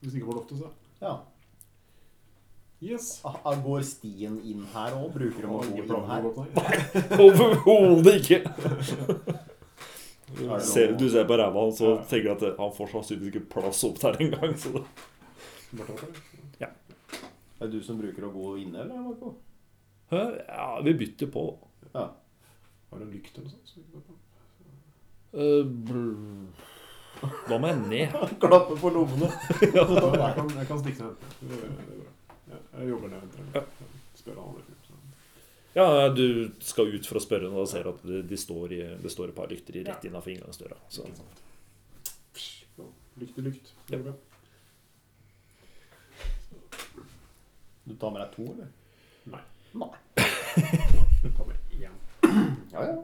Hvis den ikke får lov til det. Ja. Yes. Ah, ah, Går stien inn her òg? Bruker de Har å gå ingen inn planer om her? å åpne her. Overhodet ikke! noe- Ser, du ser på ræva hans og Ja. tenker at eh, han får sannsynligvis ikke plass opp der engang. Så det. Bare ta det. Er det du som bruker å gå inne, eller? Marco? Hæ? Ja, vi bytter på. Ja. Har du en lykt eller noe sånt? så vi kan ta på den? Eh, brr. Da må jeg ned. Klappe på lommene. Ja, Jeg kan, jeg kan stikke ned. Det er- det er bra. Ja, Jeg jobber ned etter den. Spør han om det er fullt, så. Ja, du skal ut for å spørre når du ser at det de står, i, det står et par lykter i rett innafor inngangsdøra. Så. Ikke sant. Psh, ja, Lykt i lykt. Det Ja. er bra. Du tar med deg to, eller? Nei. Nei. Ta med én. Ja, ja.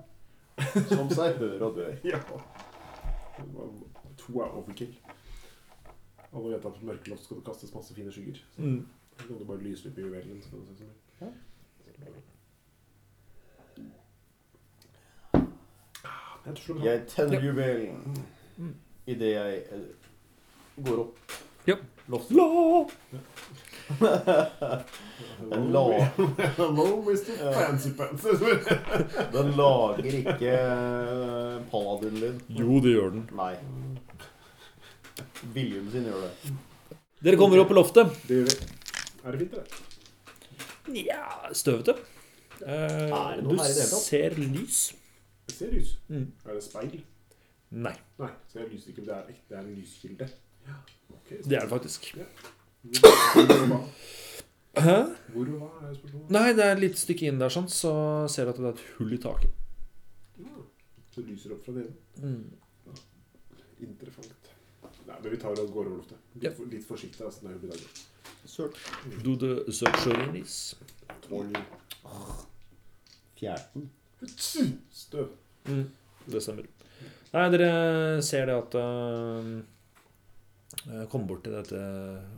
Som seg hør og bør. Ja. Det var- To er overkill. Alle vet at på mørkeloft skal det kastes masse fine skygger. Så Mm. da kan du bare lyse litt på juvelen. Så kan det se sånn. ut. Ja. Ah, Jeg tror det var- Jeg tenner juvelen Mm. idet jeg eh, går opp. Ja. Loft. La! Den, la, Hello, Mr. Fancy Pants. den lager ikke eh, paladin-lyd. Jo, det gjør den. Nei. William sin gjør det. Dere kommer opp på loftet. Det gjør vi. Er det fint, det? Nja, støvete. Eh, Er det noe du her i det hele tatt? ser lys. Jeg ser lys. Mm. Er det speil? Nei, Nei, så jeg lyser ikke. men Det er, det er en lyskilde. Ok, så- det er det faktisk. Hvor og hva? Hæ? Hvor og hva er spørsmålet? Nei, det er et lite stykke inn der, sånn, så ser du at det er et hull i taket. Ja, Så lyser det opp fra det ene. Mm. Interessant. Nei, men vi tar og går over loftet. Ja. Litt, for- litt forsiktig. Altså, det er jo middag. Sørt. Do the search or release. Fjerten. Støv. Mm. Det stemmer. Nei, dere ser det at eh, Kom bort til dette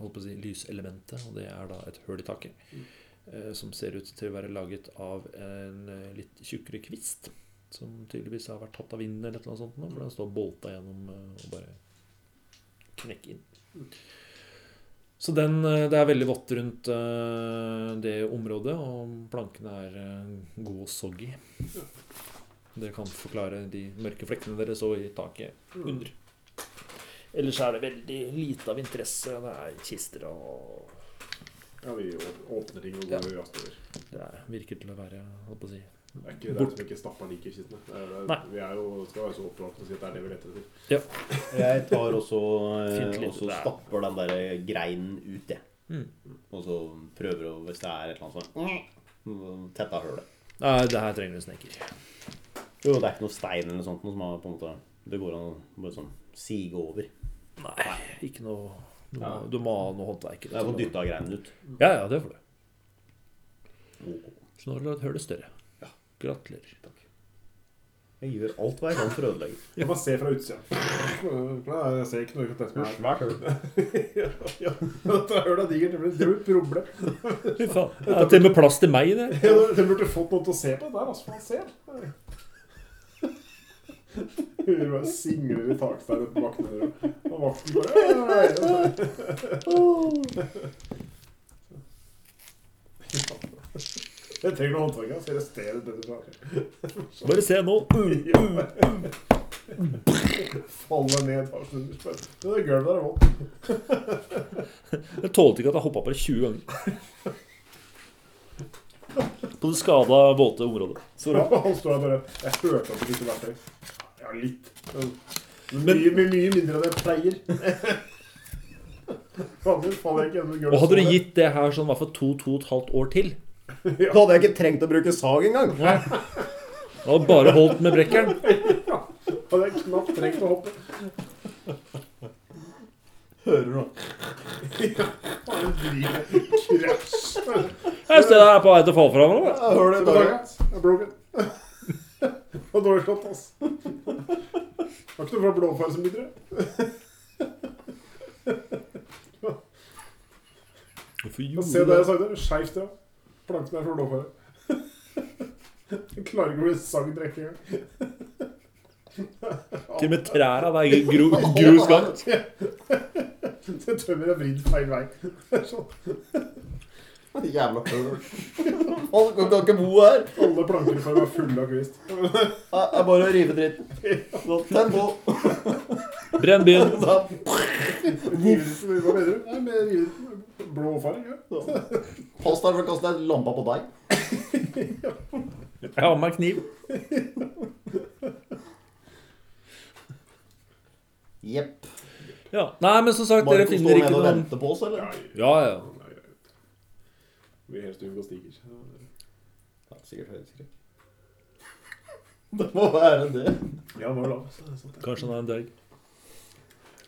holdt på å si, lyselementet, og det er da et hull i taket. eh, som ser ut til å være laget av en eh, litt tjukkere kvist. Som tydeligvis har vært tatt av vinden, eller noe sånt, nå, for den står bolta gjennom eh, og bare knekker inn. Så den, eh, det er veldig vått rundt eh, det området, og plankene er eh, gode og soggy. Det kan forklare de mørke flekkene dere så i taket under. Ellers er det veldig lite av interesse. Det er kister og Ja, vi å- åpner ting og går og jazz over. Det er, virker til å være hva på å si. Det er ikke det Bort. som ikke stapper like i kistene. Det er, det er, Nei. Vi er jo, skal være så oppdratt å si at det er det vi leter etter. Jeg tar også Fint eh, lite og så der. stapper den der eh, greinen ut, jeg. Mm. Og så prøver å Hvis det er et eller annet sånn, mm, sånt Tetta hullet. Nei, det her trenger du snekker. Jo, det er ikke noe stein eller noe sånt noe som har på en måte Det går an å bare sånn sige over. Nei, ikke noe Du må, Ja. du må ha noe håndverk. Jeg får dytta greinen ut. Ja, ja, det får du. Så nå har du lagd hullet større. Gratulerer. Jeg gjør alt hva jeg kan for å ødelegge. Jeg bare ser fra utsida. Nei, Jeg ser ikke noe kontakt med det. Svært hull. Ja, Dette hølet er digert. Det blir- Det blir problem. Fy faen. Det er til og med plass til meg i det. Dere burde fått noen til å se på det der, altså. for Han ser. Hun bare singler i taksteinen på vakten. Og vakten bare «Øy, øy, øy». Jeg trenger noe håndtak. Jeg skal arrestere dette fra Bare se nå. Faller ned etasjen under. spør. Det er gulvet der er vått. Jeg tålte ikke at jeg hoppa på det 20 ganger. På det skada, våte området. Så bra. Han står der bare Jeg hørte at du ikke var der. Ja, litt. Men, men mye, mye, mye mindre enn jeg pleier. Fader, faller jeg ikke gjennom gulvet. Og hadde du gitt det her sånn i hvert fall to, to og et halvt år til Da hadde jeg ikke trengt å bruke sag engang. Da hadde du bare holdt med brekkeren. Hadde jeg knapt trengt å hoppe. Hører du Bare en driv- Krasj. Jeg ser jeg er på vei til å falle fra hverandre. Hører Se du på bare dagen. Jeg er broken. Det var dårlig slått, ass. Var ikke noe fra blåfar som bidro. Hvorfor Se det gjorde jeg sagde. Skeivt, ja. Planken er fra blåfar. Jeg klarer ikke å bli sagd rekke engang. Til og med trærne der gro, gro skakt. Det tømmer er vridd feil vei. Det er sånn. Jævla høl. Folk kan ikke bo her. Alle plankene får være fulle av kvist. Det er bare å rive dritten. Sånn, Tenn på. Brenn byen! Da- Rivelsen, Hva mener du? Nei, med rivelsen. Blå farge? Ja. Pass deg for å kaste deg lampa på deg. Jeg har med meg kniv. Jepp. Ja. Nei, men som sagt, dere Marco finner står ikke nede og noen venter på oss, eller? Ja, Ja, ja. Nei, jeg vet ikke. Vil helst unngå stiger. Ja, sikkert høydeskrekk. Det må være det. Ja, han var lav. så det er sant, det. Kanskje han er en dverg.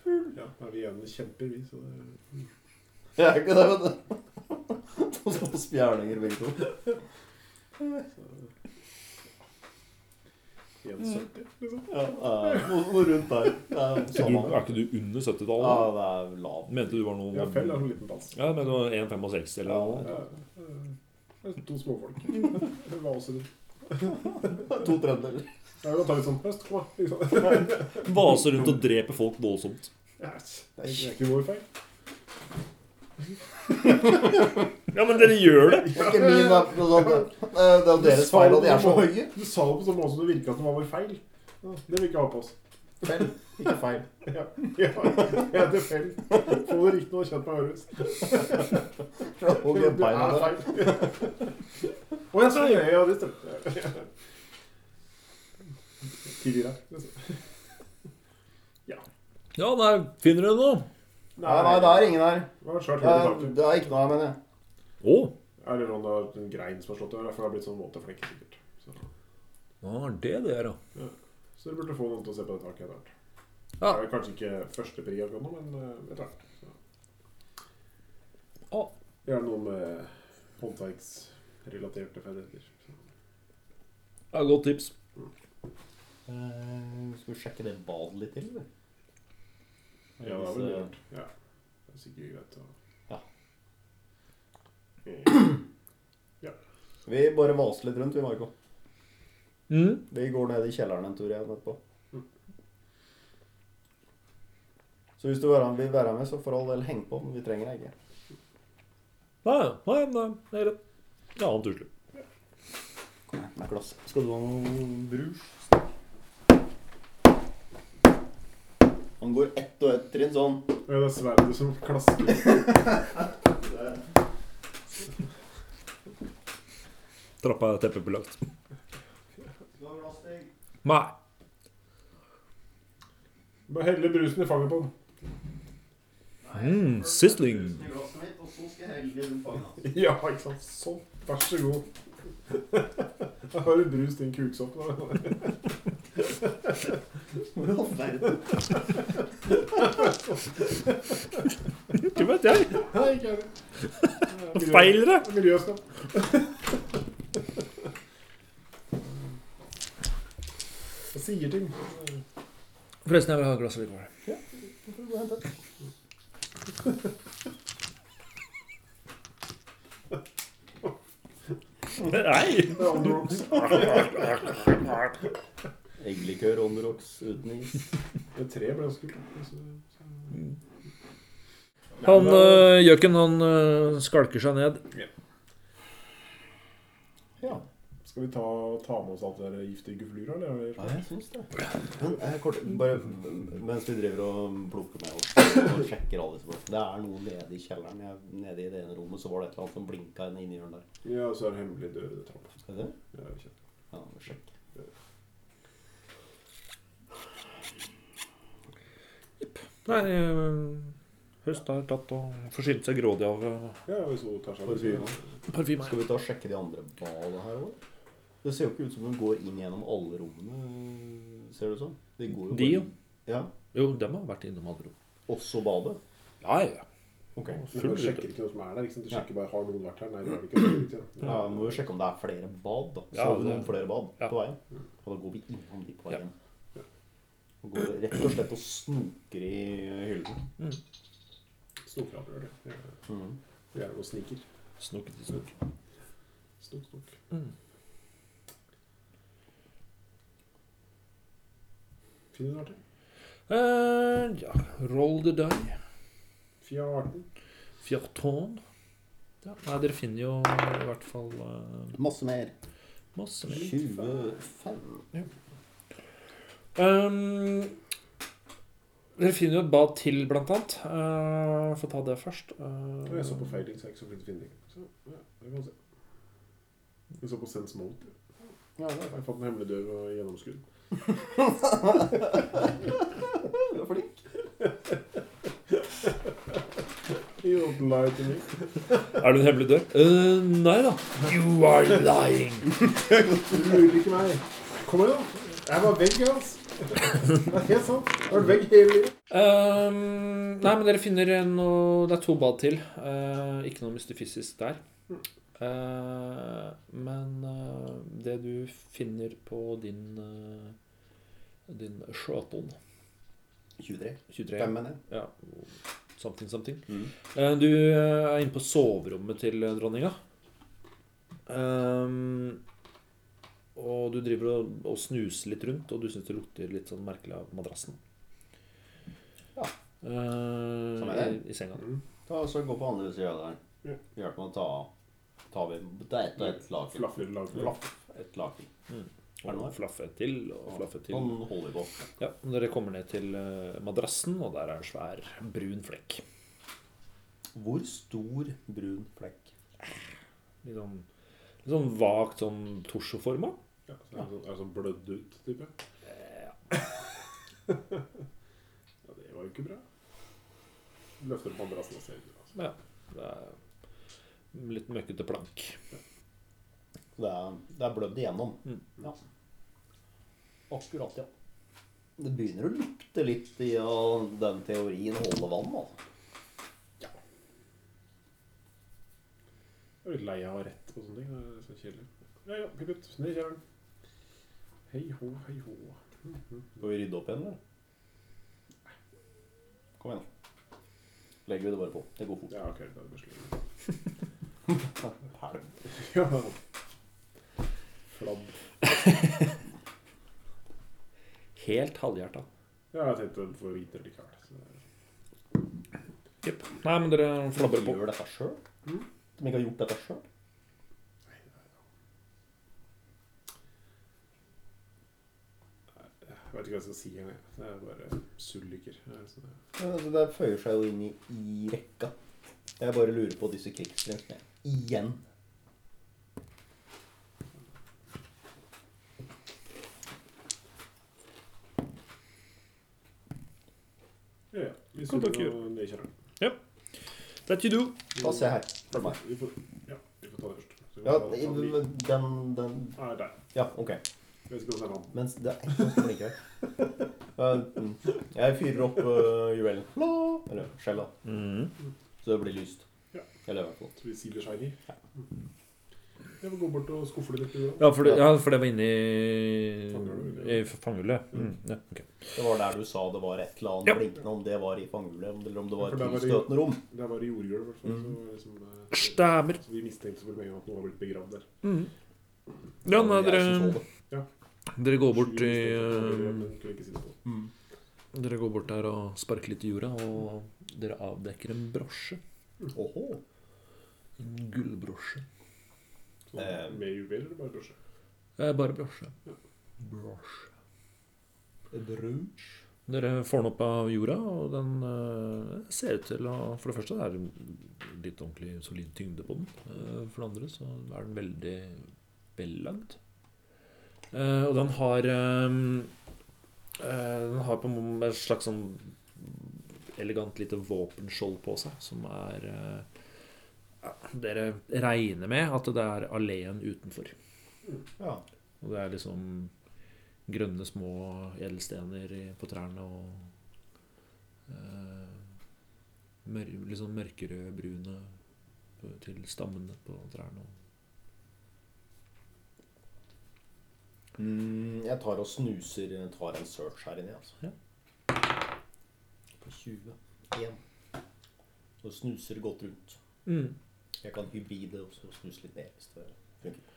Ja, da er vi igjen kjemper, vi. Så det er... Jeg er ikke det, vet du. To små spjerninger, begge to. Igjen 70, liksom. Ja, ja, noe, noe rundt der. Ja, samme. er ikke du under Ja, 70-tallet? det er lav. Mente du var noe Ja, Fell er sånn liten dans. Ja, men det var 1,65 eller noe. Ja, ja. To småfolk. Det var også det. To tredjedeler. Jeg kan ta litt sånn høst, kom da. Liksom. Vaser rundt og dreper folk voldsomt. Yes. Det er ikke vår feil. Ja, men dere gjør det! Det er ikke min, det er- det er det er jo deres feil at de er så høye. Du sa det på sånn måte som det virket som det var vår feil. Ja, Det vil vi ikke ha på oss. Feil, ikke feil. Ja, ja jeg heter Fell. Får det riktig noe kjent meg høres. Og Det er beina der. feil. Å, jeg sa ja, ja, det stemmer. Tidligere. Ja, nei, finner dere noe? Nei, nei, Eh, det er ingen her. Det var et svært Det hull i er, taket. det er ikke noe her, mener jeg. Å! Er det noen av den grein som har slått over? For det har blitt sånn våteflekk, sikkert. Så, Hva er det det er, da? så dere burde få noen til å se på det taket etter hvert. Det Ah. Ja. er vel kanskje ikke første pri akkurat nå, men eh, etter hvert. Så. Ah. Å. Gjerne noe med håndverksrelaterte ferdigheter. Så. Ja, godt tips. Eh, Skal vi sjekke det badet litt til, eller? Ja, det er vel lurt. Ja. Det er sikkert greit å Ja. Eh, Vi bare vaser litt rundt, vi, Marco. Mm. Vi går ned i kjelleren en tur igjen etterpå. Så hvis du vil være- vil være med, så for all del, heng på. Men vi trenger deg ikke. Nei, nei, nei, det er greit. Ja, annet usle. Kom her, med glass. Skal du ha noe brus? Han går ett og ett trinn sånn. Ja, det er sverdet som klasker. Trappa er teppebelagt. Nei. Bare helle brusen i fanget på den. Mm, sizzling. Ja, ikke sant. Sånn. Vær så god. Da har du brus til en kuksopp. Da. Ikke vet jeg. Nei, ikke jeg. Det er miljø- Feil det. Miljøskap. Jeg sier ting. Forresten, jeg vil ha et glass likevel. Nei! Det er on the rocks. Eggelikør on the rocks uten is. Det treet ble ganske kult. Mm. Han eh, øh, gjøken, han øh, skalker seg ned. Ja, Skal vi ta, ta med oss alt det der giftige guflura, eller? ja, jeg syns det. Men eh, kort, bare mens vi driver og plukker med oss og sjekker alle disse plassene. Det er noe nede i kjelleren. Jeg, nede i det ene rommet så var det et eller annet som blinka inne i hjørnet der. Ja, og så er det hemmelig dør i det trappa. Er det det? Det er jo kjent. Ja, vi må sjekke. Nei, øh, høst har tatt og forsynt seg grådig av øh, Ja, hvis hun tar seg av Parfyme. parfyme. Skal vi ta og sjekke de andre badene her òg? Det ser jo ikke ut som de går inn gjennom alle rommene, ser det ut som. De går jo De, bare- jo. Ja. Jo, dem har vært innom alle rom. Også badet. Ja, ja. Ok. Men Du sjekker ikke noe som er der. Ikke sant? Du sjekker bare har noen vært her. Nei, det har de ikke. Det er ikke. det. Ja, vi må jo sjekke om det er flere bad. da. Så Ja, har vi det- noen flere bad ja. på veien. Og da går vi innom de på Ja. veien. Og går rett og slett og snoker i hyllen. Snokraper gjør det. Ja. Mhm. Vi er noen sniker. Snokete snok. Snok, snok. Mm. Finner du noe artig? Eh, ja, roll the die. Fjarten. Fjorton. Ja, nei, dere finner jo i hvert fall eh, Masse mer. masse mer. 25. Ehm, dere finner jo et bad til, blant annet. Uh, Få ta det først. Ehm, Jeg så på feiling, så jeg ikke så flink til finning. Så ja, det kan man se. Jeg så på Sense Mode. Ja, det Jeg fant en hemmelig dør og gjennomskudd. Du er flink. You don't lie to me. Er du en hemmelig dør? Eh, nei da. You are lying. Du lurer ikke meg. Kom igjen, da. Jeg var vegg, altså. Det er helt sant. Jeg har vært vegg hele livet. Ehm, nei, men dere finner noe Det er to bad til. Eh, ikke noe mystifisisk der. Eh, men eh, det du finner på din eh, Din sjøton 23. 23 Fem, mener jeg. ja, something, something. Mm. Eh, Du eh, er inne på soverommet til eh, dronninga. Ehm, og du driver og, og snuser litt rundt, og du syns det lukter litt sånn merkelig av madrassen. Ja. Eh, Sånn er i, det. I senga. Ta og så gå på andre sida der. Ja. Hjelp meg å ta av. Ta ved Det er ett og ett laken. Flaff lille lag. Flaff. Ett laken. Er det noe? Og flaffe et til, og flaffe et til. Sånn holder vi på. Ja, og dere kommer ned til eh, madrassen, og der er en svær, brun flekk. Hvor stor brun flekk? Litt sånn, litt sånn vagt sånn torsoforma. Ja, så er det sånn, er det sånn blødd ut, type. Ja, det var jo ikke bra. Løfter opp madrassen og ser ut. Altså. Ja, det er litt møkkete plank. Det er, det er blødd igjennom. Mm. Ja. Akkurat, ja. Det begynner å lukte litt i av den teorien holde vann, altså. Jeg er litt lei av å ha rett på sånne ting. Det er så kjedelig. Ja, ja, klipp ut. Ned i kjelleren. Hei hå, hei Mhm. hå. Skal vi rydde opp igjen, eller? Kom igjen. Legger vi det bare på. Det går fort. Ja, ok, da er det besluttet. Pælm. Ja. Flabb. Helt halvhjerta. Ja, jeg tenkte den får vite det likevel. så det er- Jepp. Nei, men dere flabber på. gjør dette sjøl? Mm. De ikke har gjort dette sjøl? Jeg vet ikke hva jeg skal si engang. jeg. Det er bare sulliker. Det er sånn- altså, Det der føyer seg jo inn i, i rekka. Jeg bare lurer på disse krigsgrensene. Igjen. Ja, ja. Vi Kan dere- suller ned i kjelleren. That you do. Da se her. Vi Følg meg. får- Vi får, ja, vi får ta det først. Så vi Ja, får ta det- ta det- den, den Nei, der. Ja, ok. Jeg vet ikke om det er vann. Mens det er ikke noe som ligger her. Uh, Jeg fyrer opp uh, juvelen. La, Eller skjella. Så det blir lyst. Ja. Eller i hvert fall. Så vi siler shiny. Jeg må gå bort og skuffe det litt. du, da. Ja, for det, ja, for det var inne i, i fangehullet. Mm. Ja, ok. Det var der du sa det var et eller annet Ja. blinkende, om det var i fangehullet, eller om det Ja, var for et der var det- tilstøtende rom. Det var i jordgulvet, i hvert fall. Mhm. Så, liksom, eh, Stemmer. så vi mistenkte for meg at noe var blitt begravd der. Mm. Ja, nei, Jeg dere, som så det. dere går bort Vi mistenkte i at noe var begravd, eh, men kunne ikke si det på. Mm. Dere går bort der og sparker litt i jorda, og dere avdekker en brosje. Åhå. En gullbrosje. Så Eh. Med juvel eller bare brosje? Eh, bare brosje. Brosje. Brunch. Dere får den opp av jorda, og den eh, ser ut til å For det første det er det litt ordentlig solid tyngde på den. Eh, for det andre så er den veldig vellagd. Eh, og den har eh, eh, Den har på en måte et slags sånn elegant lite våpenskjold på seg, som er eh, ja, Dere regner med at det er alleen utenfor. Ja. Og det er liksom grønne små edelstener i- på trærne og eh, mør, liksom mørkerød-brune på- til stammene på trærne. Mm, jeg tar og snuser tar en search her inne, altså. Ja. På 20. 1. Så snuser godt rundt. Mm. Jeg kan hybride og så snuse litt ned hvis det funker.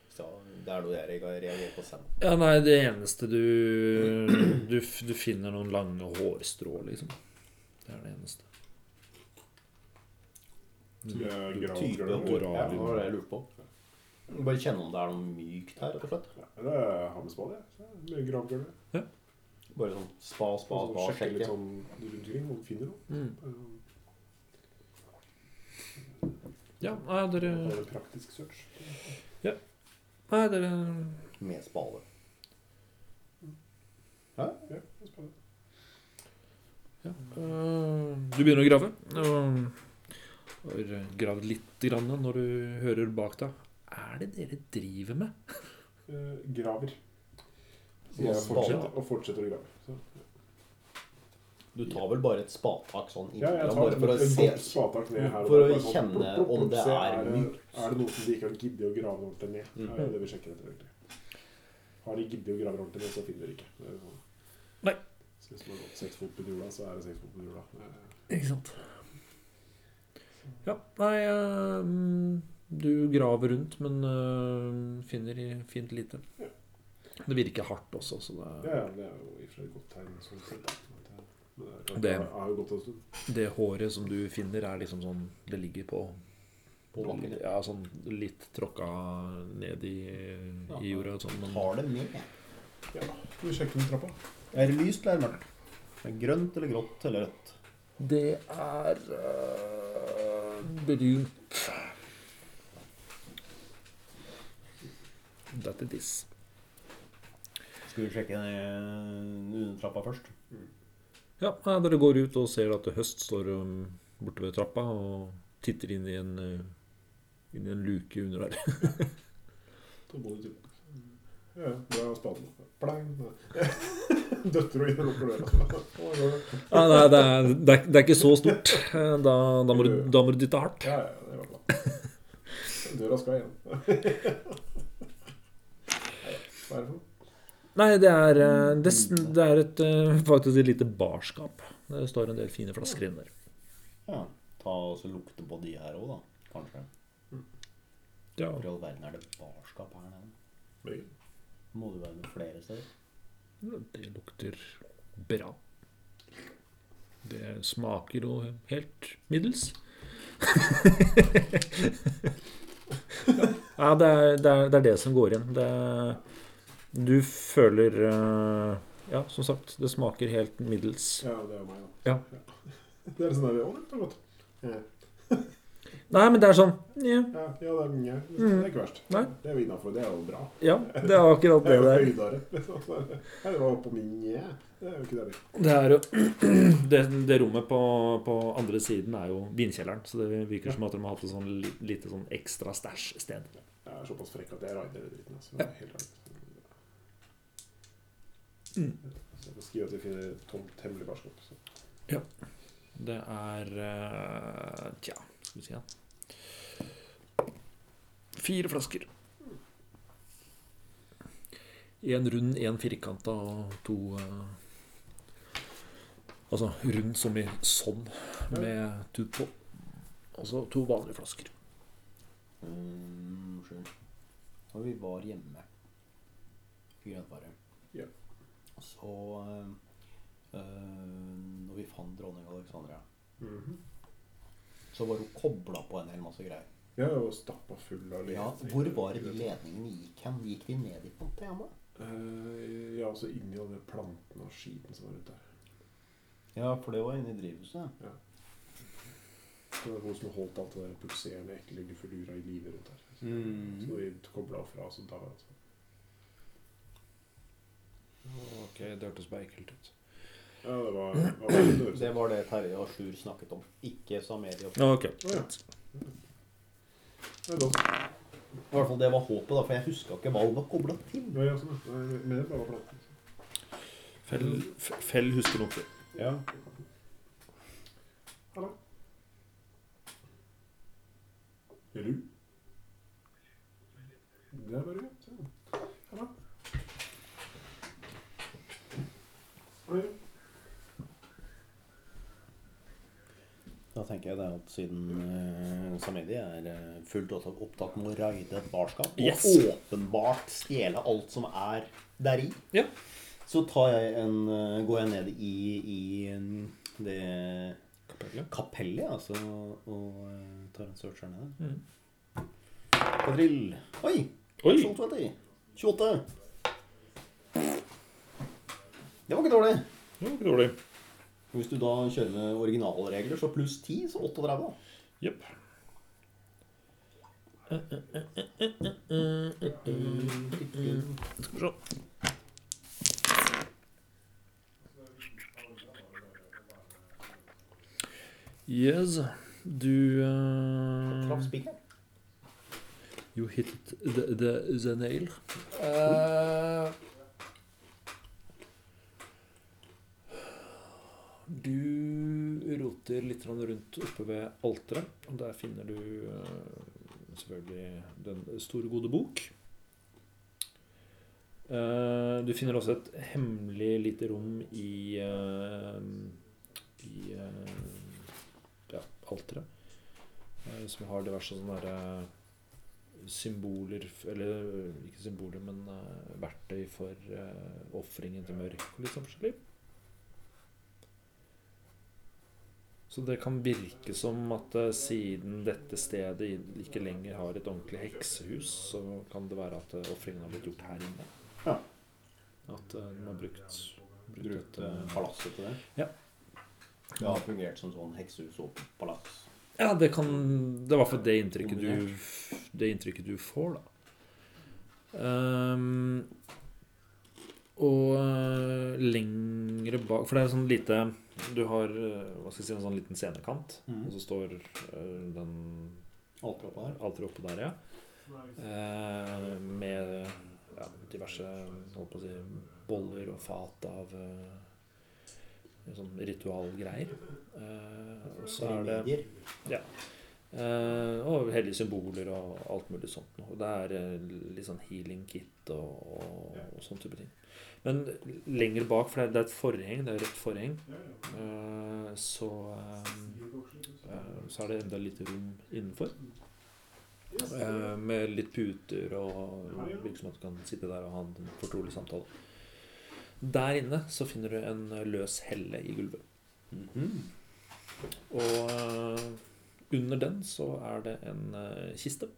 Hvis det er- det er noe jeg reager- reagerer på selv. Ja, nei, det eneste du, du f- Du finner noen lange hårstrå, liksom. Det er det eneste. Som er grav- mm. Type grav- hår. Ja, grav- det var det jeg lurte på. Bare kjenne om det er noe mykt her, rett og slett. Ja, det er Hammersbad, det. Det er Gravgulvet. Bare sånn spa, spa, Og spa, så sjekke litt sjekke. sånn rundt omkring om du finner noe. Mm. Um, Ja, nei, dere Det er en praktisk search. Nei, dere Med spade. Ja, spennende. ja. øh, Du begynner å grave. Og og grav litt eh, grann når du hører bak deg. Er det dere driver med? Eh, graver. Så Og jeg spade. fortsetter, og fortsetter å grave. Så. Du tar vel bare et spadetak sånn Ja, jeg innimellom, tar bare et, for å et se godt spadetak ned her. og For å bare sånn, kjenne plopp, plopp, om plopp, det se, er det- mykt. Er det noe som de ikke har giddet å grave ordentlig ned? Mm. Det er det vi sjekker etter, egentlig. Har de giddet å grave ordentlig ned, så finner vi det ikke. Det er sånn. Nei. Så hvis man har gått seks fot på jula, så er det seks fot på jula. Eh, Ikke sant. Ja, nei øh, mm, Du graver rundt, men øh, finner i- fint lite. Ja. Det virker hardt også, så det, Ja, ja, det er jo i og for seg et godt tegn. Sånn sett, da. Men det, er, Det- det har jo gått en stund. det håret som du finner, er liksom sånn Det ligger på på bakken. Ja, sånn litt tråkka ned i, i jorda. og Sånn, men Tar det med. Skal vi sjekke den trappa? Er det lyst eller er det mørkt? Er det grønt eller grått eller rødt? det er øh, brunt. That it is. Skal vi sjekke den under trappa først? Ja, nei, dere går ut og ser at Høst står um, borte ved trappa og titter inn i en, øh, inn i en luke under der. Da må du til. Ja, ja, bra spaden. Plang! Døtter og inn og lukker døra. Å, går det? Nei, nei, det er, det, er, det er ikke så stort. Eh, Da, da, må, du, da må du dytte hardt. Ja, ja, det var bra. Døra skal igjen. Hva er det for noe? Nei, det er, eh, det, s- det er et, eh, faktisk et lite barskap. Det står en del fine flasker inne der. Ja. Ta og så lukte på de her òg, da. Kanskje. Ja. For i all verden er det barskap her nede. Må det være noe flere steder? Det lukter bra. Det smaker jo helt middels. ja, det er, det, er, det er det som går igjen. Det, du føler eh, Ja, som sagt, det smaker helt middels. Ja, det er jo meg, da. Ja. Det er sånn der, å, det var godt. Ja, Nei, men det er sånn Ja, ja, det er mye. Det er ikke verst. Mm. Nei. Det er vi innenfor, det er jo bra. ja det er akkurat Det er det jo det er. høydere. liksom. Så er det- Nei, det var på min ja. Det er jo ikke det. Det er jo Det, det rommet på, på andre siden er jo vinkjelleren, så det virker som at de har hatt et sånn li- lite sånn ekstra stæsj-sted. Jeg er såpass frekk at jeg raider det dritten. Altså. Det er Helt ærlig. Mm. Så jeg må skrive at vi finner et tomt, hemmelig barskap. Så. Det er eh, Tja, skal vi si igjen Fire flasker. Én rund, én firkanta og to eh, Altså rund som i sånn, med tut på. Og så to vanlige flasker. Um, sju. Da vi var hjemme i Grønnfaret, Ja. så eh, eh, Når vi fant dronning Alexandra, Mhm. så var hun kobla på en hel masse greier. Jeg er jo stappa full av Ja, hvor var det de ledningene gikk hen? Gikk de ned i Pantema? Eh, ja, altså inni alle plantene og skiten som var rundt der. Ja, for det var inne i drivhuset. Det var noen som holdt alt det der pulserende, ekle guffelura i livet rundt her. Mm. Så når vi kobla fra, så da altså. Ok, det hørtes bare ekkelt ut. Ja, det var, det var veldig dårlig. Det var det Terje og Sjur snakket om, ikke Samedia. Ok. Å, ja. Nei, da, I hvert fall det var håpet, da, for jeg huska ikke hva hun var kobla til. nei, altså, nei, men det var planten. Fell, f- fell husker noe. Ja. Hallo. Er du? Der var du. Se. Hallo. Oi. Da tenker jeg det at siden uh, Samedi er eh, fullt opp- opptatt med å raide et barskap og Yes. åpenbart stjele alt som er deri, Ja. så tar jeg en, eh, går jeg ned i, i en- det Kapellet. Kapellet, ja, altså, og eh, tar en search her nede. Mm. Kadrill. Oi! Oi! 28. 28. Det var ikke dårlig. Det var ikke dårlig. Hvis du da kjører med originalregler, så pluss 10, så 38. Jepp. Skal vi se. Yes. Du eh, Traff spikeren. You hit the, the, the nail. Eh, Du roter litt grann rundt oppe ved alteret, og der finner du eh, selvfølgelig Den store, gode bok. Eh, Du finner også et hemmelig lite rom i, eh, i eh, ja, alteret, eh, som har diverse sånne derre symboler f- Eller ikke symboler, men eh, verktøy for uh, ofringen til mørk og litt sånn forskjellig. Så det kan virke som at eh, siden dette stedet i- ikke lenger har et ordentlig heksehus, så kan det være at eh, ofringen har blitt gjort her inne. Ja. At eh, den har brukt, brukt, Brukt et, eh, eh, palasset til det. Ja. Det har fungert som sånn heksehus og palass. Ja, det kan Det er i hvert fall det inntrykket du Det inntrykket du får, da. Ehm, og eh, lengre bak For det er sånn lite Du har eh, hva skal jeg si, en sånn liten scenekant, Mhm. og så står eh, den Alt oppe her. Alt er oppe der, ja. Eh, med ja, diverse holdt på å si, boller og fat av eh, sånn ritualgreier. Eh, og så er det Remedier. eh, Og hellige symboler og alt mulig sånt. noe. Og det er eh, litt sånn healing kit og, og, og sånn type ting. Men lenger bak, for det er- det er et forheng, det er rødt forheng, eh, så eh, Eh, Så er det enda lite rom innenfor. Eh, Med litt puter og virker som at du kan sitte der og ha en fortrolig samtale. Der inne så finner du en løs helle i gulvet. Mhm. Og eh, under den så er det en eh, kiste.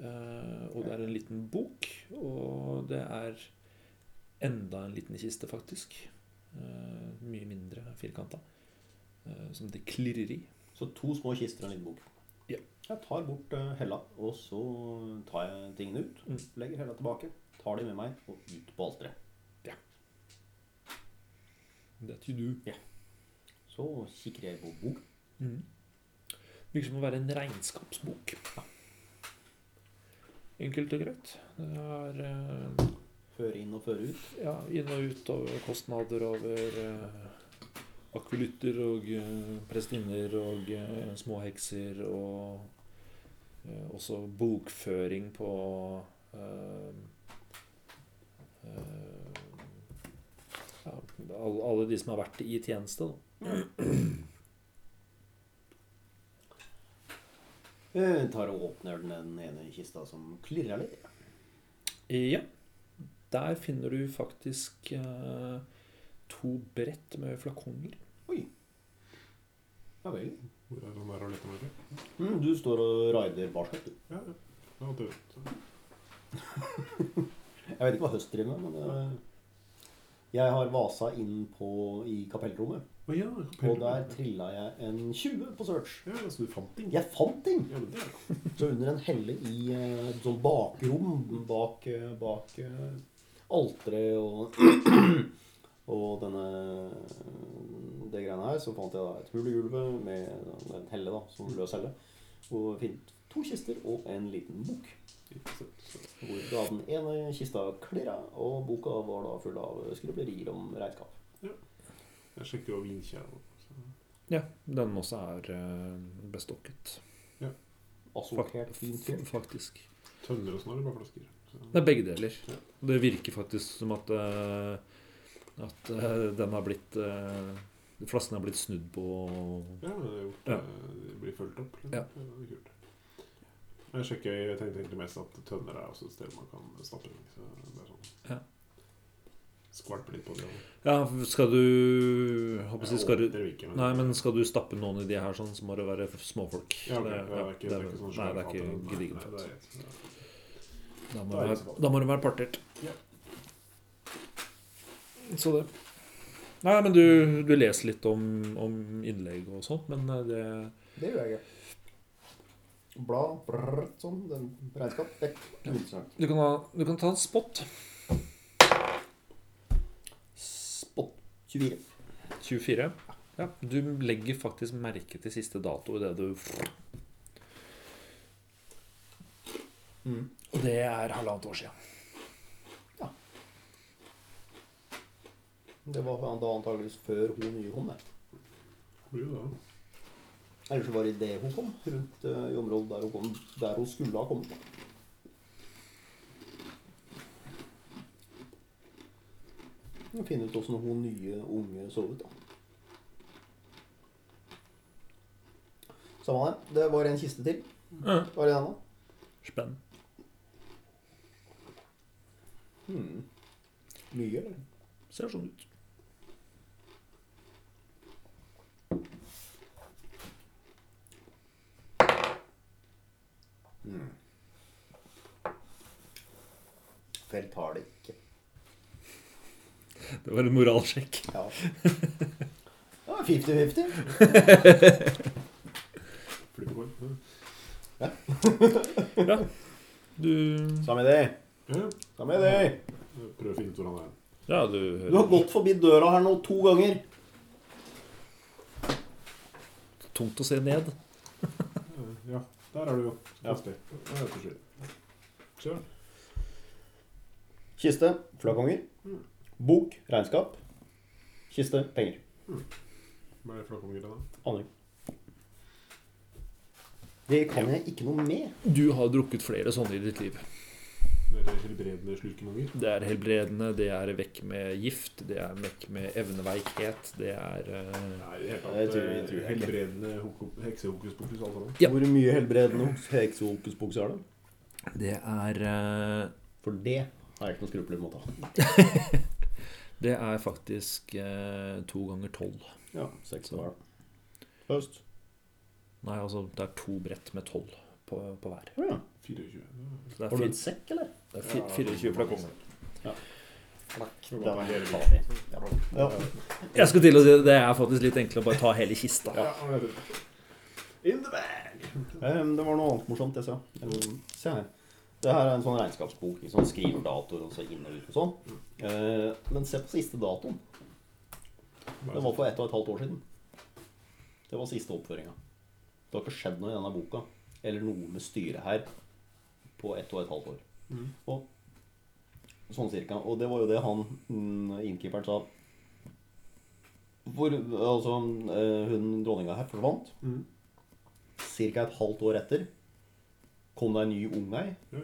Eh, og det er en liten bok, og det er enda en liten kiste, faktisk. Eh, mye mindre firkanta. eh, som det klirrer i. Så to små kister og en liten bok. Ja. Jeg tar bort eh, hella, og så tar jeg tingene ut. Mm. Legger hella tilbake. Tar de med meg og ut på alteret. Det er til du. Så kikker jeg på bok. Mm. Virker som å være en regnskapsbok. Enkelt og greit. Det er eh, Føre inn og føre ut. ja, inn og ut over kostnader over eh, akvilytter og eh, prestinner og eh, små hekser og eh, også bokføring på eh, eh, ja, alle, alle de som har vært i tjeneste, da. Jeg Eh, tar og åpner den ene kista som klirrer litt. Ja. Der finner du faktisk eh, to brett med flakonger. Ja vel. Hvor er den der og leter etter? Mm, du står og raider barskap. du. Ja, ja. Ja, det vet jeg. Jeg vet ikke hva høst driver med, men eh, jeg har vasa inn på, i kapellrommet. Å ja, Og der trilla jeg en 20 på search. Ja, så du fant den? Jeg fant ting! Ja, men det er jo Så under en helle i eh, et sånt bakrom bak, eh, bak eh, alteret og Og denne det greiene her, så fant jeg da et hull i gulvet med en helle, da, som løs helle. Og fint to kister og en liten bok. ikke sant, så- Hvor da den ene kista klirra, og boka var da full av skriblerier om regnskap. Jeg sjekker jo vinkjerra. Ja, den også er eh, bestokket. Assortert fint. fint. faktisk. Tønner og sånn, eller bare flasker? Så- Det er begge deler. Det virker faktisk som at, eh, at eh, den har blitt eh, Flassen har blitt snudd på Ja, men det er gjort. Ja. eh, Det blir fulgt opp. liksom. Ja. det er kult. Jeg sjekker, jeg tenkte egentlig mest at tønner er også et sted man kan snappe ting. Så det er sånn. Ja. Skvalper litt på det. Ja, skal du håper jeg, å si, skal du Dere vil ikke, Nei, men skal du stappe noen i de her, sånn, så må det være f- småfolk. ja, ok, Det- det, er ikke, det er ikke sånn nei, det svært er ikke fattig. Nei, gedigent nei, det fett. er rett. Ja. Da må Da er det det være- sånn. da må det være partert. Ja. Så det Nei, men du, du leser litt om, om innlegg og sånt, men eh, det Det gjør jeg ikke. Bla, brrr, sånn. Den regnskap. Vekk. Uinteressant. Du kan, ha, du kan ta en spot. Spot 24. 24. Ja, du legger faktisk merke til siste dato i det du Mm. Og det er halvannet år siden. Det var da antageligvis før hun nye kom. det. Jo da. Eller så var det det hun kom, rundt eh, i området der hun, kom, der hun skulle ha kommet. Vi må finne ut åssen hun nye unge så ut, da. Samme det. Det var en kiste til. Ja. Var det denne? Spenn. Hmm. Mye, eller? Ser sånn ut. Mm. Felt har det ikke. Det var en moralsjekk. Ja. Ja, 50-50. Flyttekort. Ja. Ja. Du Samme idé. Ja, Samme idé. ja. Prøv å finne ut hvor han er. Ja, du Du har gått forbi døra her nå to ganger. Tungt å se ned. Ja, der er du jo. Ja. Fast det. Ja, det er til slutt. Så, Kiste, flakonger. Bok, regnskap. Kiste, penger. hva er det flakonger da? Aner ikke. Det kan jeg ikke noe med. Du har drukket flere sånne i ditt liv. Det er helbredende slurkemonger. Det er helbredende, det er vekk med gift, det er vekk med evneveikhet, det er eh, Nei, det er Nei, jeg tror- jeg helt tror- helbredende hoko- heksehokus pokus, alt sammen. Ja. Hvor mye helbredende heksehokuspokus er det? Det er eh, For det har jeg ikke noen skrupler mot. da. Det er faktisk eh, to ganger tolv. Ja, seks år. Øst. Nei, altså, det er to brett med tolv på, på hver. 24. Ja. Så det er, Har du en fire, sekk, eller? det er fi- 24 flakonger. Det Den var er hele farlig. Ja. Jeg skulle til å si det er faktisk litt enklere å bare ta hele kista. Ja, det er det. In the bag! Ehm, Det var noe annet morsomt jeg sa. Ehm, Se her. Det her er en sånn regnskapsbok. Liksom, skriver datoer og så inn og ut og sånn. Ehm, Men se på siste datoen. Det sånn. var for ett og et halvt år siden. Det var siste oppføringa. Det har ikke skjedd noe i denne boka eller noe med styret her på ett og et halvt år. Mhm. Og sånn cirka. Og det var jo det han mm, innkeeperen sa. Hvor altså eh, hun dronninga her forsvant. Mhm. Cirka et halvt år etter kom det en ny ung ei. Ja,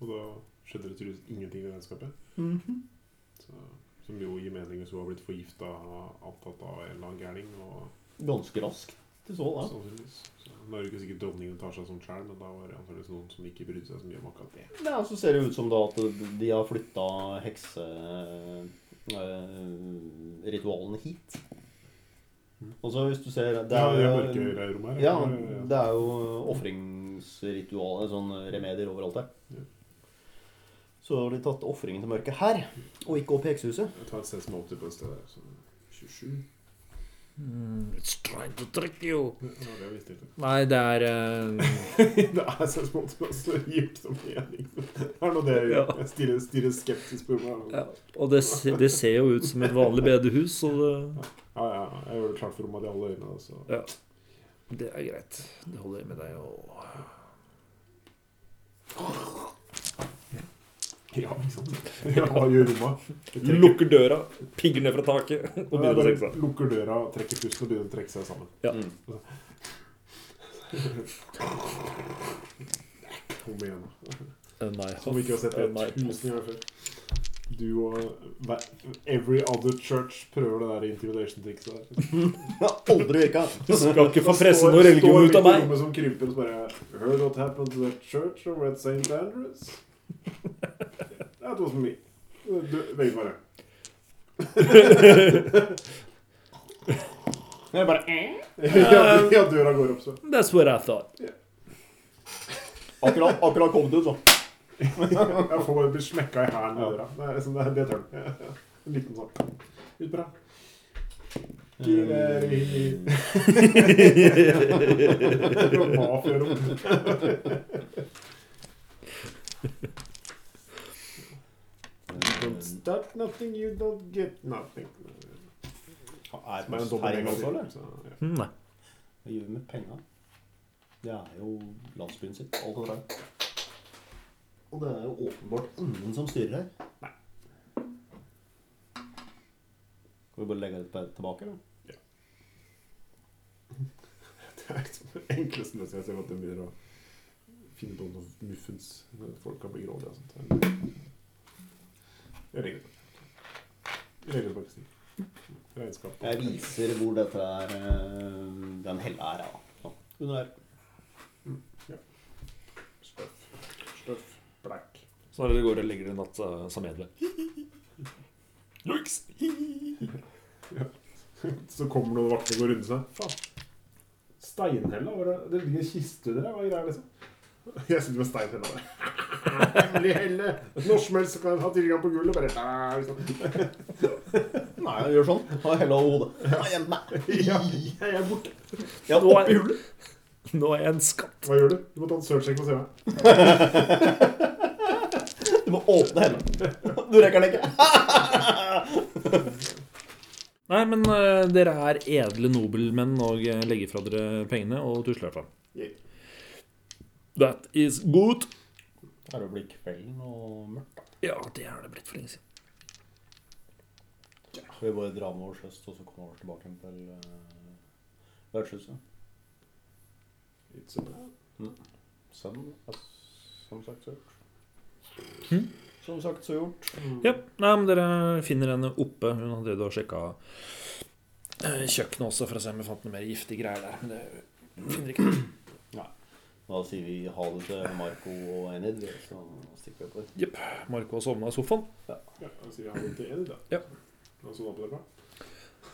og da skjedde det tydeligvis ingenting i vennskapet. Så, som jo gir mening hvis hun har blitt forgifta antatt av en eller annen gærning. Og Ganske raskt. Du så det. sannsynligvis. Så, nå er det ikke sikkert dronningen tar seg sånn sjæl, men da var det antakeligvis noen som ikke brydde seg så mye om akkurat det. Ja, så ser det ut som da at de har flytta hekseritualene eh, hit. Og så hvis du ser Det Ja, er det er jo, mørke i rommet her. ja, det er jo ofringsritualer, sånne eh, remedier overalt Ja. her. Så har de tatt ofringen til mørket her, og ikke opp i heksehuset. Jeg tar et sted som er 80 på et sted sånn der. Så 27. Mm, it's trying to trick you. Ja, det er visst ikke. Nei, det er eh, det er et sted som 80 på et sted. Gir det så mening. Det er noe det jeg gjør. Jeg stirrer, stirrer skeptisk på meg. ja, Og det, se- det ser jo ut som et vanlig bedehus, så det, Ja, ja, jeg gjør det klart for rommet i alle øynene. altså. Så. det er greit. Det holder jeg med deg og Ja, ikke sant. Ja, hva gjør rommet? Det trekker- Lukker døra, pigger ned fra taket og Ja, begynner å bare trekke seg. Lukker døra, trekker pusten og begynner å trekke seg sammen. Ja. Mm. Kom igjen. da. Nei, Som vi ikke har sett eh, det nei. tusen ganger før. Du og hver- every other church prøver det der intimidation-trikset der. Det har aldri virka! Du skal ikke få Da presse står- noe religion står ut av midt i meg! rommet som krymper og så bare Heard what happened to that church over at St. Andrews? That was me. Du, begge bare Jeg bare Ja, ja, døra går opp, så. That's what I thought. Akkurat, akkurat kom du, så. Jeg får bare bli smekka i hælen med døra. Det er liksom det, det tør den. En liten sånn. Utbra. Eh, Gireri. Mafiarom. Don't start nothing, you don't get nothing. Er Som er en dobbel terreng også, negativ. eller? så, ja. Mm, Nei. Hva gjør vi med penga? Det er jo landsbyen sitt. Alt er der. Og det er jo åpenbart ingen som styrer her. Nei. Skal vi bare legge det på- tilbake, eller? Det er liksom den enkleste løsningen jeg ser at de begynner å finne på noen muffens når folk kan bli grådige og sånt. Jeg regler på det. Regler på Pakistan. Regnskap. Jeg viser hvor dette er eh, Den hella er, ja. Sånn. Under her. Stuff. Stuff. Black. Så når dere går og legger dere natt eh, sammen med det. Joiks! Så kommer noen vakter og går rundt seg. Faen. Steinhella? Var det, det ligger en kiste under der? Hva er greia, liksom? Jeg sitter med steinhella der. Hemmelig helle! Når som helst kan jeg ha tilgang på gullet. Bare der, liksom. Nei, jeg gjør sånn. Ha hella over hodet. Nei, jeg- nei. ja, jeg er borte. Ja, Nå oppi er, hullet. nå er jeg en skatt. Hva gjør du? Du må ta en search-sjekk og se meg. Du må åpne hella. Du rekker den ikke. Nei, men eh, dere er edle nobelmenn og eh, legger fra dere pengene og tusler herfra. Yeah. That is good. Er det blitt kvelden og mørkt? Ja, det er det blitt for lenge siden. Skal vi bare dra med oss øst, og så komme oss tilbake igjen til eh, vertshuset? It's a plan. Sønnen, Sånn, som sagt så gjort. Mhm. Som sagt så gjort. Ja, nei, men dere finner henne oppe. Hun hadde drevet og sjekka eh, kjøkkenet også for å se om vi fant noe mer giftige greier der. Men det finner ikke noe. Da sier vi ha det til Marco og Enid, så stikker vi oppover. Jepp. Marco har sovna i sofaen. Ja, da sier vi ha det til Edith, da. Ja. Og så da på det bra.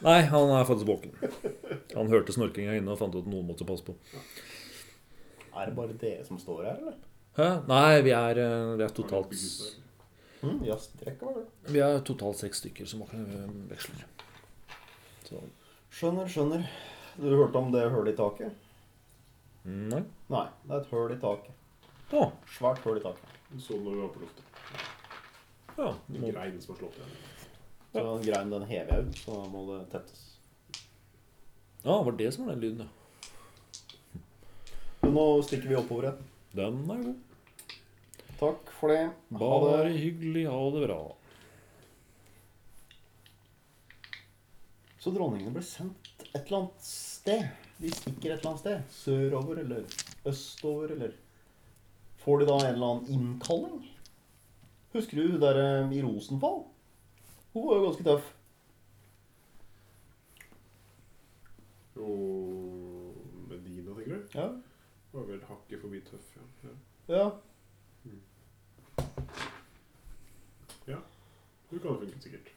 Nei, han er faktisk våken. Han hørte snorkinga inne og fant ut at noen måtte passe på. Er det bare dere som står her, eller? Hæ? Nei, vi er, eh, det er totalt Mm, Jazzdrekk var det. Vi er totalt seks stykker som eh, veksler. Så Skjønner, skjønner. Du hørte om det hullet i taket? Nei. Nei, det er et hull i taket. Å. Svært hull i taket. Så når vi var på luftet. Ja. En Må, grein som har slått igjen. Så den greien den hever jeg ut, så da må det tettes. ja, var det som var den lyden, ja. Men nå stikker vi oppover igjen. Den er god. Takk for det. Ha Bare det. hyggelig, ha det bra. Så dronningene ble sendt et eller annet sted. De stikker et eller annet sted. Sørover eller østover eller Får de da en eller annen innkalling? Husker du hun der eh, i Rosenfall? Hun var jo ganske tøff. Og Medina, tenker du? Ja. Var vel hakket forbi tøff, ja. ja. ja. Du kan ha funket sikkert.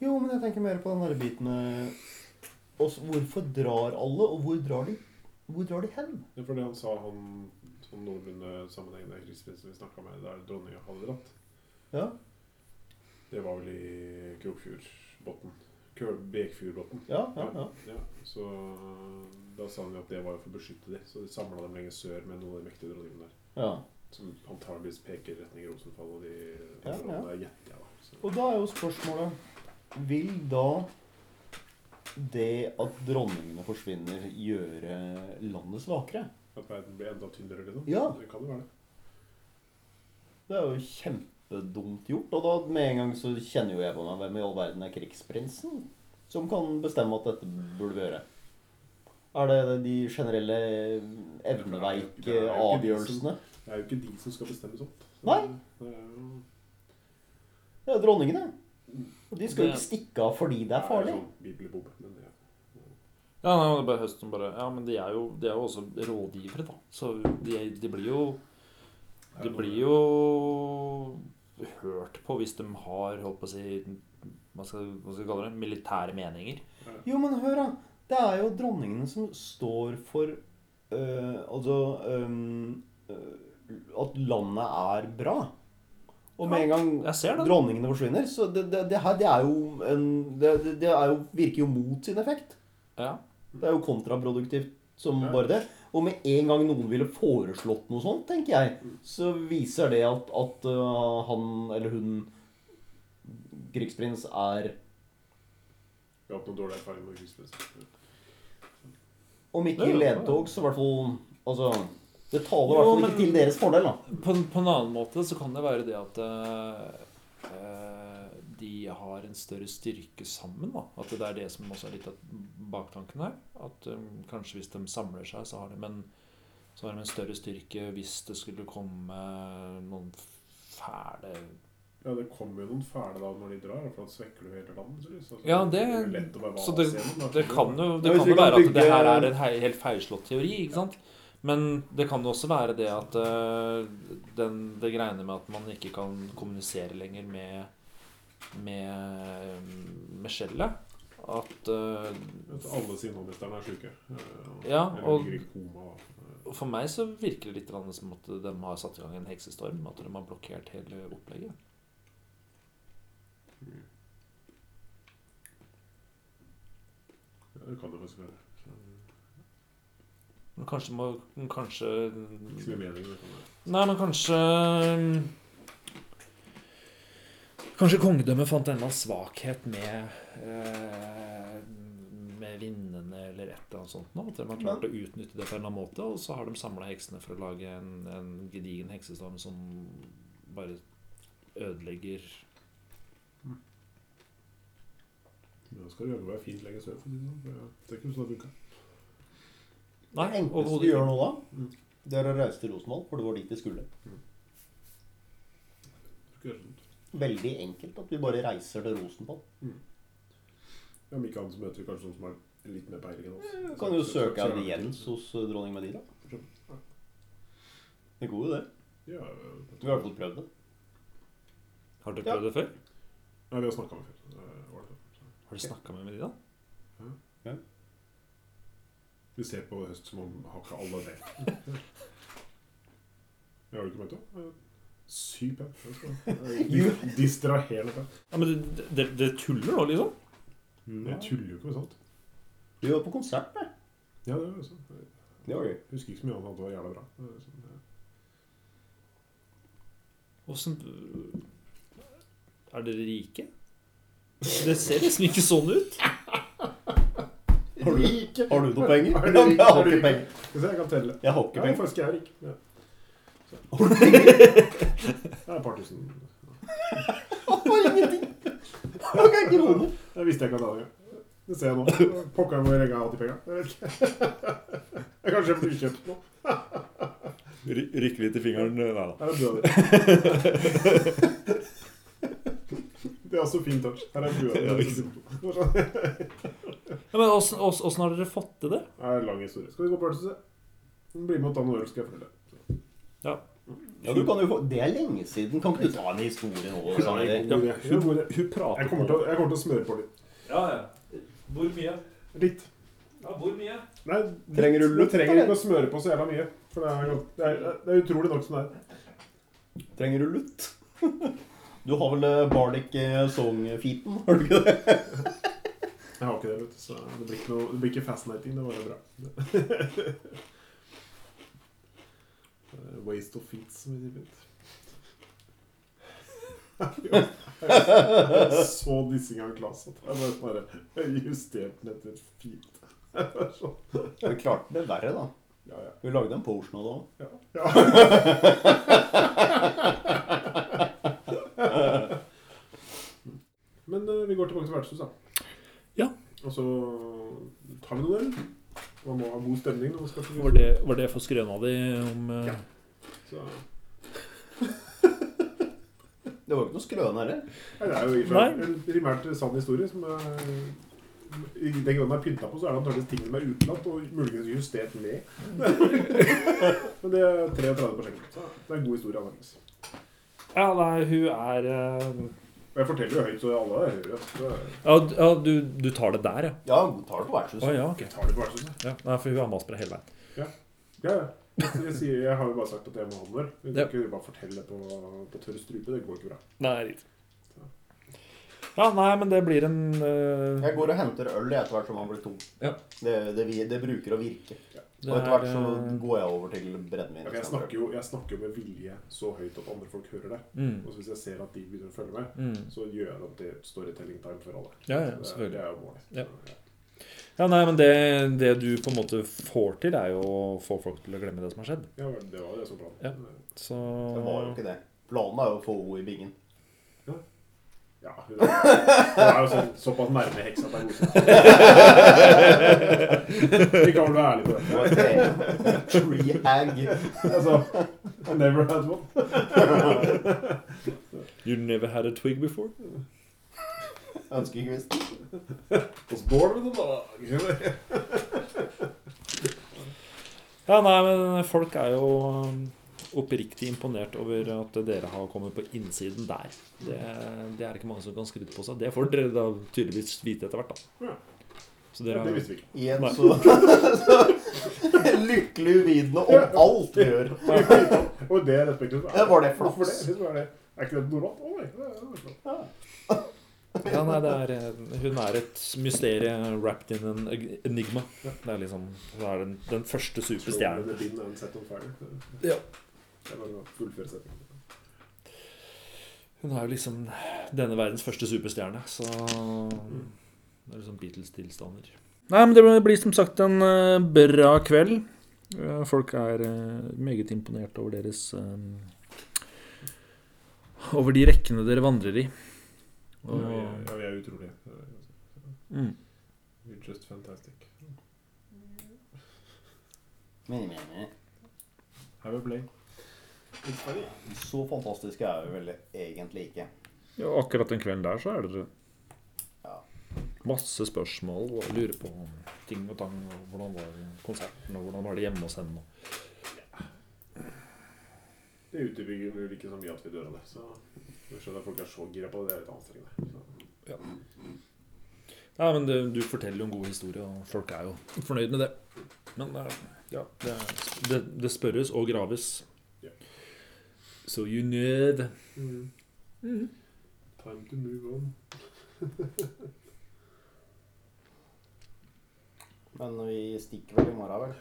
Jo, men jeg tenker mer på den der biten med oss. Hvorfor drar alle, og hvor drar de? Hvor drar de hen? Det er fordi han sa han sånn noenlunde sammenhengende krigsprinsen vi snakka med, der dronninga hadde dratt. Ja. Det var vel i Krokfjordbotn. Køl- Bekfjordbotn. Ja, ja, ja. Ja, så da sa han jo at det var jo for å beskytte dem, så de samla dem lenger sør med noen av de mektige dronningene der. ja. Som antageligvis peker retning Rosenfall og de Ja, ja. områdene der, gjetter jeg, da. Så. Og da er jo spørsmålet Vil da det at dronningene forsvinner, gjøre landet svakere? At verden blir enda tynnere, liksom? Ja. Det kan jo være det. Det er jo kjempedumt gjort. Og da med en gang så kjenner jo jeg på meg Hvem i all verden er krigsprinsen som kan bestemme at dette burde vi gjøre? Er det de generelle evneveike avgjørelsene? Det er jo ikke de som skal bestemme sånt. Så Nei. Det er jo- Det er jo dronningene. Og de skal jo ikke stikke av fordi det er farlig. sånn bibelbombe, men det Ja, nei, det er bare høsten bare Ja, men de er jo, de er jo også rådgivere, da. Så de, de blir jo De blir jo hørt på hvis de har holdt på å si hva skal, hva skal vi kalle det, militære meninger. Jo, men hør, da. Det er jo dronningene som står for eh, Altså ehm, eh, At landet er bra. Og med en gang Jeg ser den. dronningene forsvinner Så det, det, det her det er jo en det, det, det er jo, virker jo mot sin effekt. Ja. Det er jo kontraproduktivt som Ja. bare det. Og med en gang noen ville foreslått noe sånt, tenker jeg, så viser det at, at uh, han eller hun krigsprins er Vi har hatt noen dårlige erfaringer med krigspress. Om ikke Ja, ja. ledtog, så i hvert fall Altså, det taler i Jo, hvert fall men- ikke til deres fordel, da. På, en- på en annen måte så kan det være det at eh, eh, de har en større styrke sammen. da. At det er det som også er litt av baktanken her. At eh, kanskje hvis de samler seg, så har de, en, så har de en større styrke hvis det skulle komme noen fæle Ja, det kommer jo noen fæle da når de drar, for da svekker du hele landet. tror jeg. Så Ja, det, er jo lett å være så det, vase igjennom, da. det kan jo, Ja, det hvis kan vi jo kan være at det bygge- her er en hei- helt feilslått teori, ikke sant? Men det kan jo også være det at eh, den, det greiene med at man ikke kan kommunisere lenger med med, med skjellet. At eh, At alle sinnholdmesterne er syke. Eh, Ja, eller og- ligger i koma. eh, For meg så virker det litt grann som at de har satt i gang en heksestorm. At de har blokkert hele opplegget. Eh, Ja, det kan det faktisk være. Så, Men kanskje må Kanskje Ikke så mye mening sånn i det. kan være. Nei, men kanskje eh, Kanskje kongedømmet fant en eller annen svakhet med eh, Med vinnene eller et eller annet sånt. Nå, at de har klart å utnytte det på en eller annen måte. Og så har de samla heksene for å lage en, en gedigen heksestorm som bare ødelegger Men da skal det jaggu være fint lenge sør. for å si det sånn, for jeg- Det er ikke sånn det funker. Nei, det enkleste overhodet vi gjør ikke. nå da, Mm. det er å reise til Rosenvoll, for det var dit vi skulle. Skal gjøre sånt. Veldig enkelt at vi bare reiser til Rosenvoll. Ja, Om ikke annet så møter vi kanskje noen som har litt mer peiling enn oss. Du kan jo Så- så- søke så- av Jens hos eh, dronning Medina. Det går jo, det. Ja, Vi har i hvert fall prøvd det. Har dere Ja. prøvd det før? Nei, vi har snakka med før. så det var det. Har du snakka med Medina? Vi ser på høst som om har ikke alle det. Jeg har du ikke møtt henne? Sykt pen. Jeg skal- jeg er Distraherende pen. Ja, men det, det, det tuller nå, liksom? Jeg tuller jo ikke med sånt. Vi var på konsert, det. Ja, det er jo sånn. Det var gøy. Jeg husker ikke så mye annet enn at det var jævla bra. Det er sånn, ja. Åssen øh, Er dere rike? Det ser liksom ikke sånn ut. Har du- Rike! Har du noe penger? Er du Ja, rik? men jeg Er har du ikke rik? penger. Skal vi se, jeg kan telle. Jeg har ikke Ja, penger. faktisk, jeg er rik. Ja. Så. Det er et par tusen. Jeg har ikke kroner. Jeg visste jeg ikke at jeg hadde det. Det ser jeg nå. Pokker hvor lenge jeg har hatt de penga. Jeg vet ikke. Jeg kanskje jeg blir kjøpt nå. Rykke litt i fingeren. øh, Nei da. Her er bua di. Det er også fin touch. Her er bua di. Det er så dumt. Det Ja, men åssen- åssen åssen har dere fått til det? er en lang historie. Skal vi gå på øvelseshuset? Bli med og ta noen øl, skal jeg fortelle. Ja, du kan jo få... Det er lenge siden. Kan ikke du ta en historie Ja, det er nå? en god Sander? idé. Det er en god idé. Hun prater Jeg kommer til å, jeg kommer til å smøre på litt. Ja, ja. Hvor mye? Litt. Ja, hvor mye? Nei, Trenger du litt, lukt, du trenger eller? ikke å smøre på så jævla mye. For det er, det er, det er utrolig nok som det er. Trenger du lutt? Du har vel eh, Bardic eh, Song-feeten, har du ikke det? Jeg har ikke det, vet du. Så det blir ikke, noe, det blir ikke fascinating. Det var jo bra. Eh, Waste of feet, som vi sier. Jeg så dissing av Klas at jeg bare, bare justerte den etter feet. Sånn. Vi klarte det verre, da. Ja, ja. Vi lagde en potion av det òg. Ja. ja. Men eh, vi går tilbake til vertshuset, da. Ja. Og så tar vi noen øl. Man må ha god stemning når man skal til Var det, var det for skrøna di om eh, Så, Det var ikke noe skrøne heller. Nei, det er jo i og for Nei. seg en primært sann historie som er i den grad den er pynta på, så er det antakeligvis ting som er utelatt og muligens justert ned. Men det er 33 prosjekter. Så det er en god historie. antageligvis. Ja, nei, hun er eh, Og Jeg forteller jo høyt, så alle hører eh, det. Så Ja, d- ja du, du tar det der, ja? Ja, hun tar det på Å vertshuset. ja, ok. jeg tar det på vertshuset. Ja. Nei, for hun har mast på det hele veien. Ja, ja. Jeg, jeg, sier, jeg har jo bare sagt at jeg må handle. Jeg kan Ja. ikke bare fortelle det på, på tørr strupe. Det går ikke bra. Nei, riktig. Ja, nei, men det blir en eh, Jeg går og henter øl etter hvert som man blir tom. Ja. Det, det, vi- det bruker å virke. det Og etter hvert er, så eh, går jeg over til brennevin. Ok, jeg, snakker jo, jeg snakker jo med vilje så høyt at andre folk hører det. mm, Og så hvis jeg ser at de begynner å følge med, mm. så gjør jeg det til storytelling time for alle. Ja, Så ja, det, selvfølgelig. det er jo målet. Ja. Ja, nei, men det, det du på en måte får til, er jo å få folk til å glemme det som har skjedd. Ja, vel, det var det som var planen. Så Det var jo ikke det. Planen er jo å få henne i bingen. Ja, hun er, hun er jo så, såpass nærme heksa at det er godkjent. Vi kan vel være ærlige på det. Det var tre- Trehag. Altså, I never had one. You never had a twig before? Ønskekvist. Was born with a dog. Ja, nei, men folk er jo um, oppriktig imponert over at dere har kommet på innsiden der. Det, det er ikke mange som kan skryte på seg. Det får dere da tydeligvis vite etter hvert, da. Ja. Så Det dere har visste vi ikke. Igjen Nei. så, så lykkelig uvitende om alt du gjør. Og det respektet Ja, var det flaks? Hvorfor det? Liksom, er, det, er ikke det normalt? Å nei, det er det er flaks. Ja, nei, det er eh, Hun er et mysterium wrapped in an eg- enigma. Ja. Det er liksom Hun er den, den første Throw superstjernen. the bin and set on fire. Ja. Det var en fullføre setning. Hun er jo liksom denne verdens første superstjerne, så Det er liksom Beatles-tilstander. Nei, men det blir som sagt en eh, bra kveld. Eh, Folk er eh, meget imponert over deres eh, Over de rekkene dere vandrer i. Ja, vi er- ja, vi er utrolige. Mm. You're just fantastic. Men, men, men. Have a play. It's funny. Så fantastiske er vi vel egentlig ikke. Ja, og akkurat den kvelden der så er det Ja. masse spørsmål og lurer på ting og tang. Og hvordan var konserten, og hvordan var det hjemme hos henne? og- Det utbygger vel ikke så mye at vi dør av det. Så jeg skjønner at folk er så gira på det. Det er litt anstrengende. Så. Nei, men det, Du forteller jo en god historie, og folk er jo fornøyd med det. Men eh, ja, det, det, det spørres og graves. Ja. So you need Time to move on. Men vi stikker vel i morgen, vel?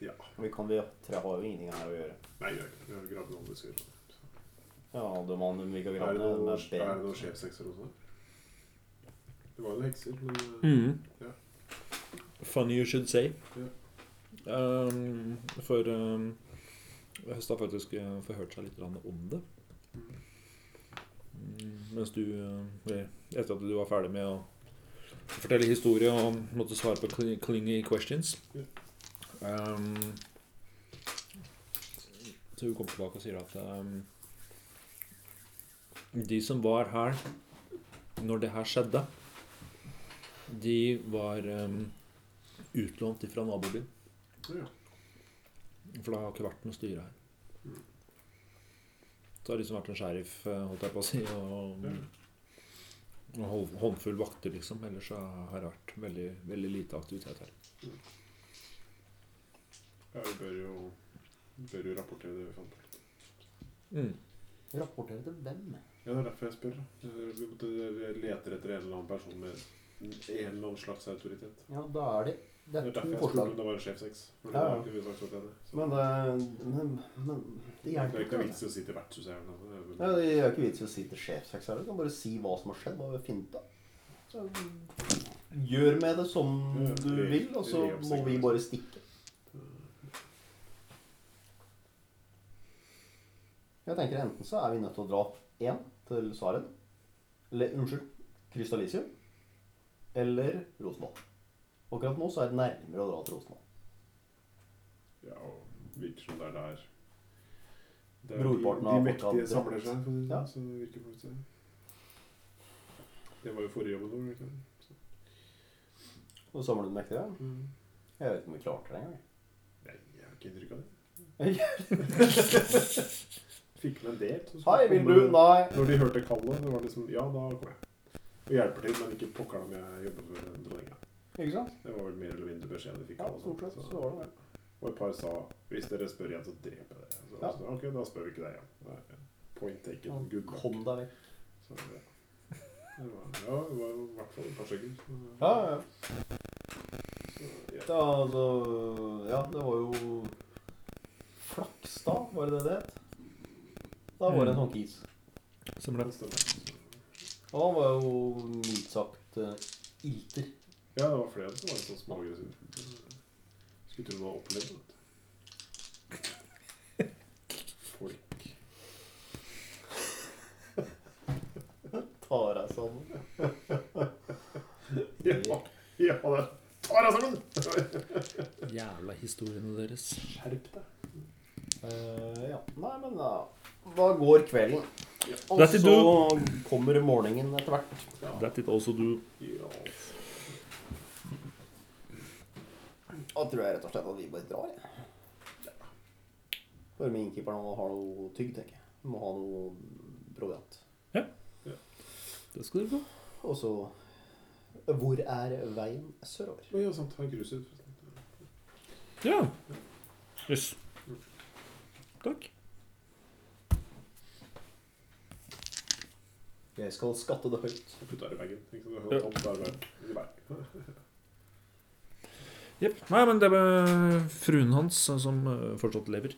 Ja. Vi, kan, vi tre har jo ingenting her å gjøre. Nei, jeg gjør ikke det. Vi har gravd noen diskusjoner. Ja, du mann, vi kan Er det grave noen, med er det ben. noen sjefsekser også? Det var jo noen hekser, men eh, Mm. Ja. Funny you should say. Um, for um, Høst har faktisk eh, forhørt seg litt grann om det. Mm, mens du eh, eller Etter at du var ferdig med å fortelle historie og måtte svare på cli- clingy questions um, Så hun kommer tilbake og sier at um, de som var her når det her skjedde, de var um, utlånt ifra nabobyen. Ja. For det har ikke vært noe styre her. Så har det liksom vært en sheriff, eh, holdt jeg på å si, og, og hol- håndfull vakter, liksom. Ellers så har det vært veldig, veldig lite aktivitet her. Ja, vi bør jo, vi bør jo rapportere det vi fant. Mm, Rapportere til hvem? Ja, det er derfor jeg spør. da. Vi måtte- vi leter etter en eller annen person med en eller annen slags autoritet. Ja, da er det Det Det er er to derfor jeg spurte forslag. om det var en sjefseks. For det Ja, ja. var ikke vi sagt at det er det. Så Men, det- men, men det Det er hjelper ikke ikke. noe det. vits i å si til vertshuset her. nå. Det Ja, er vel- det gjør ikke vits i å si til sjefseks her. Du kan bare si hva som har skjedd. Hva vi har funnet av. Så, Gjør med det som Mm, Ja, du det- vil, og det så gjør må sikkert. vi bare stikke. Jeg tenker enten så er vi nødt til å dra én til Svaren. Eller unnskyld, Krystallisium. Eller Rosenvoll. Akkurat nå så er det nærmere å dra til Rosenvoll. Ja, og virker som det er der der Brorparten de, av de folka mektige samler drept. seg. for å si det Ja. sånn, Så det virker det som. Det var jo forrige jobben vår. ikke sant? Og så samler du den mektige. Mm. Jeg vet ikke om vi klarte det engang. Nei, jeg har ikke inntrykk av det. fikk med en del. som skulle Hei, vil komme- du? Nei. Når de hørte kallet, så var det liksom Ja, da kommer jeg. Og hjelper til, men ikke pokker om jeg jobber for dronninga. Ikke sant? Det var vel mer eller mindre beskjeden de fikk. Ja, alle sammen, stort sett så var det det. Og et par sa hvis dere spør igjen, så dreper jeg dere. Så, Ja. så, ok, da spør vi ikke deg igjen. Nei, Point taken. Han Good luck. Kom deg vekk. Så, ja. Det var, ja, det var i hvert fall et par stykker. som- Ja, ja. Så, ja. Ja, altså Ja, det var jo Flakstad, var det det det het? Da var det en Mm. sånn kis. Som ble det stemmer. Og han var jo mildt sagt eh, ilter. Ja, det var flere som var litt sånn småaggressive. Skulle tro du hadde opplevd det. Folk Tar deg sammen. Ja, ja det tar deg sammen! jævla historiene deres. Skjerp deg. Eh, ja. Nei, men ja. Da går kvelden. Ja. Og That's it, så kommer morgenen etter hvert. Ja. That it also do. ja. Da tror jeg rett og slett at vi bare drar. jeg. Bare med innkeeperen og har noe tygg, tenker jeg. Må ha noe proviant. Det skal dere få. Og så Hvor er veien sørover? Oi, ja, sånn, sant. Han gruset. forresten. Ja. Jøss. Takk. Jeg skal skatte det høyt. Jeg putta det i bagen. Ikke sant? Det er tomt, det er bare- i bagen. Jepp. Nei, men det var fruen hans, som eh, fortsatt lever,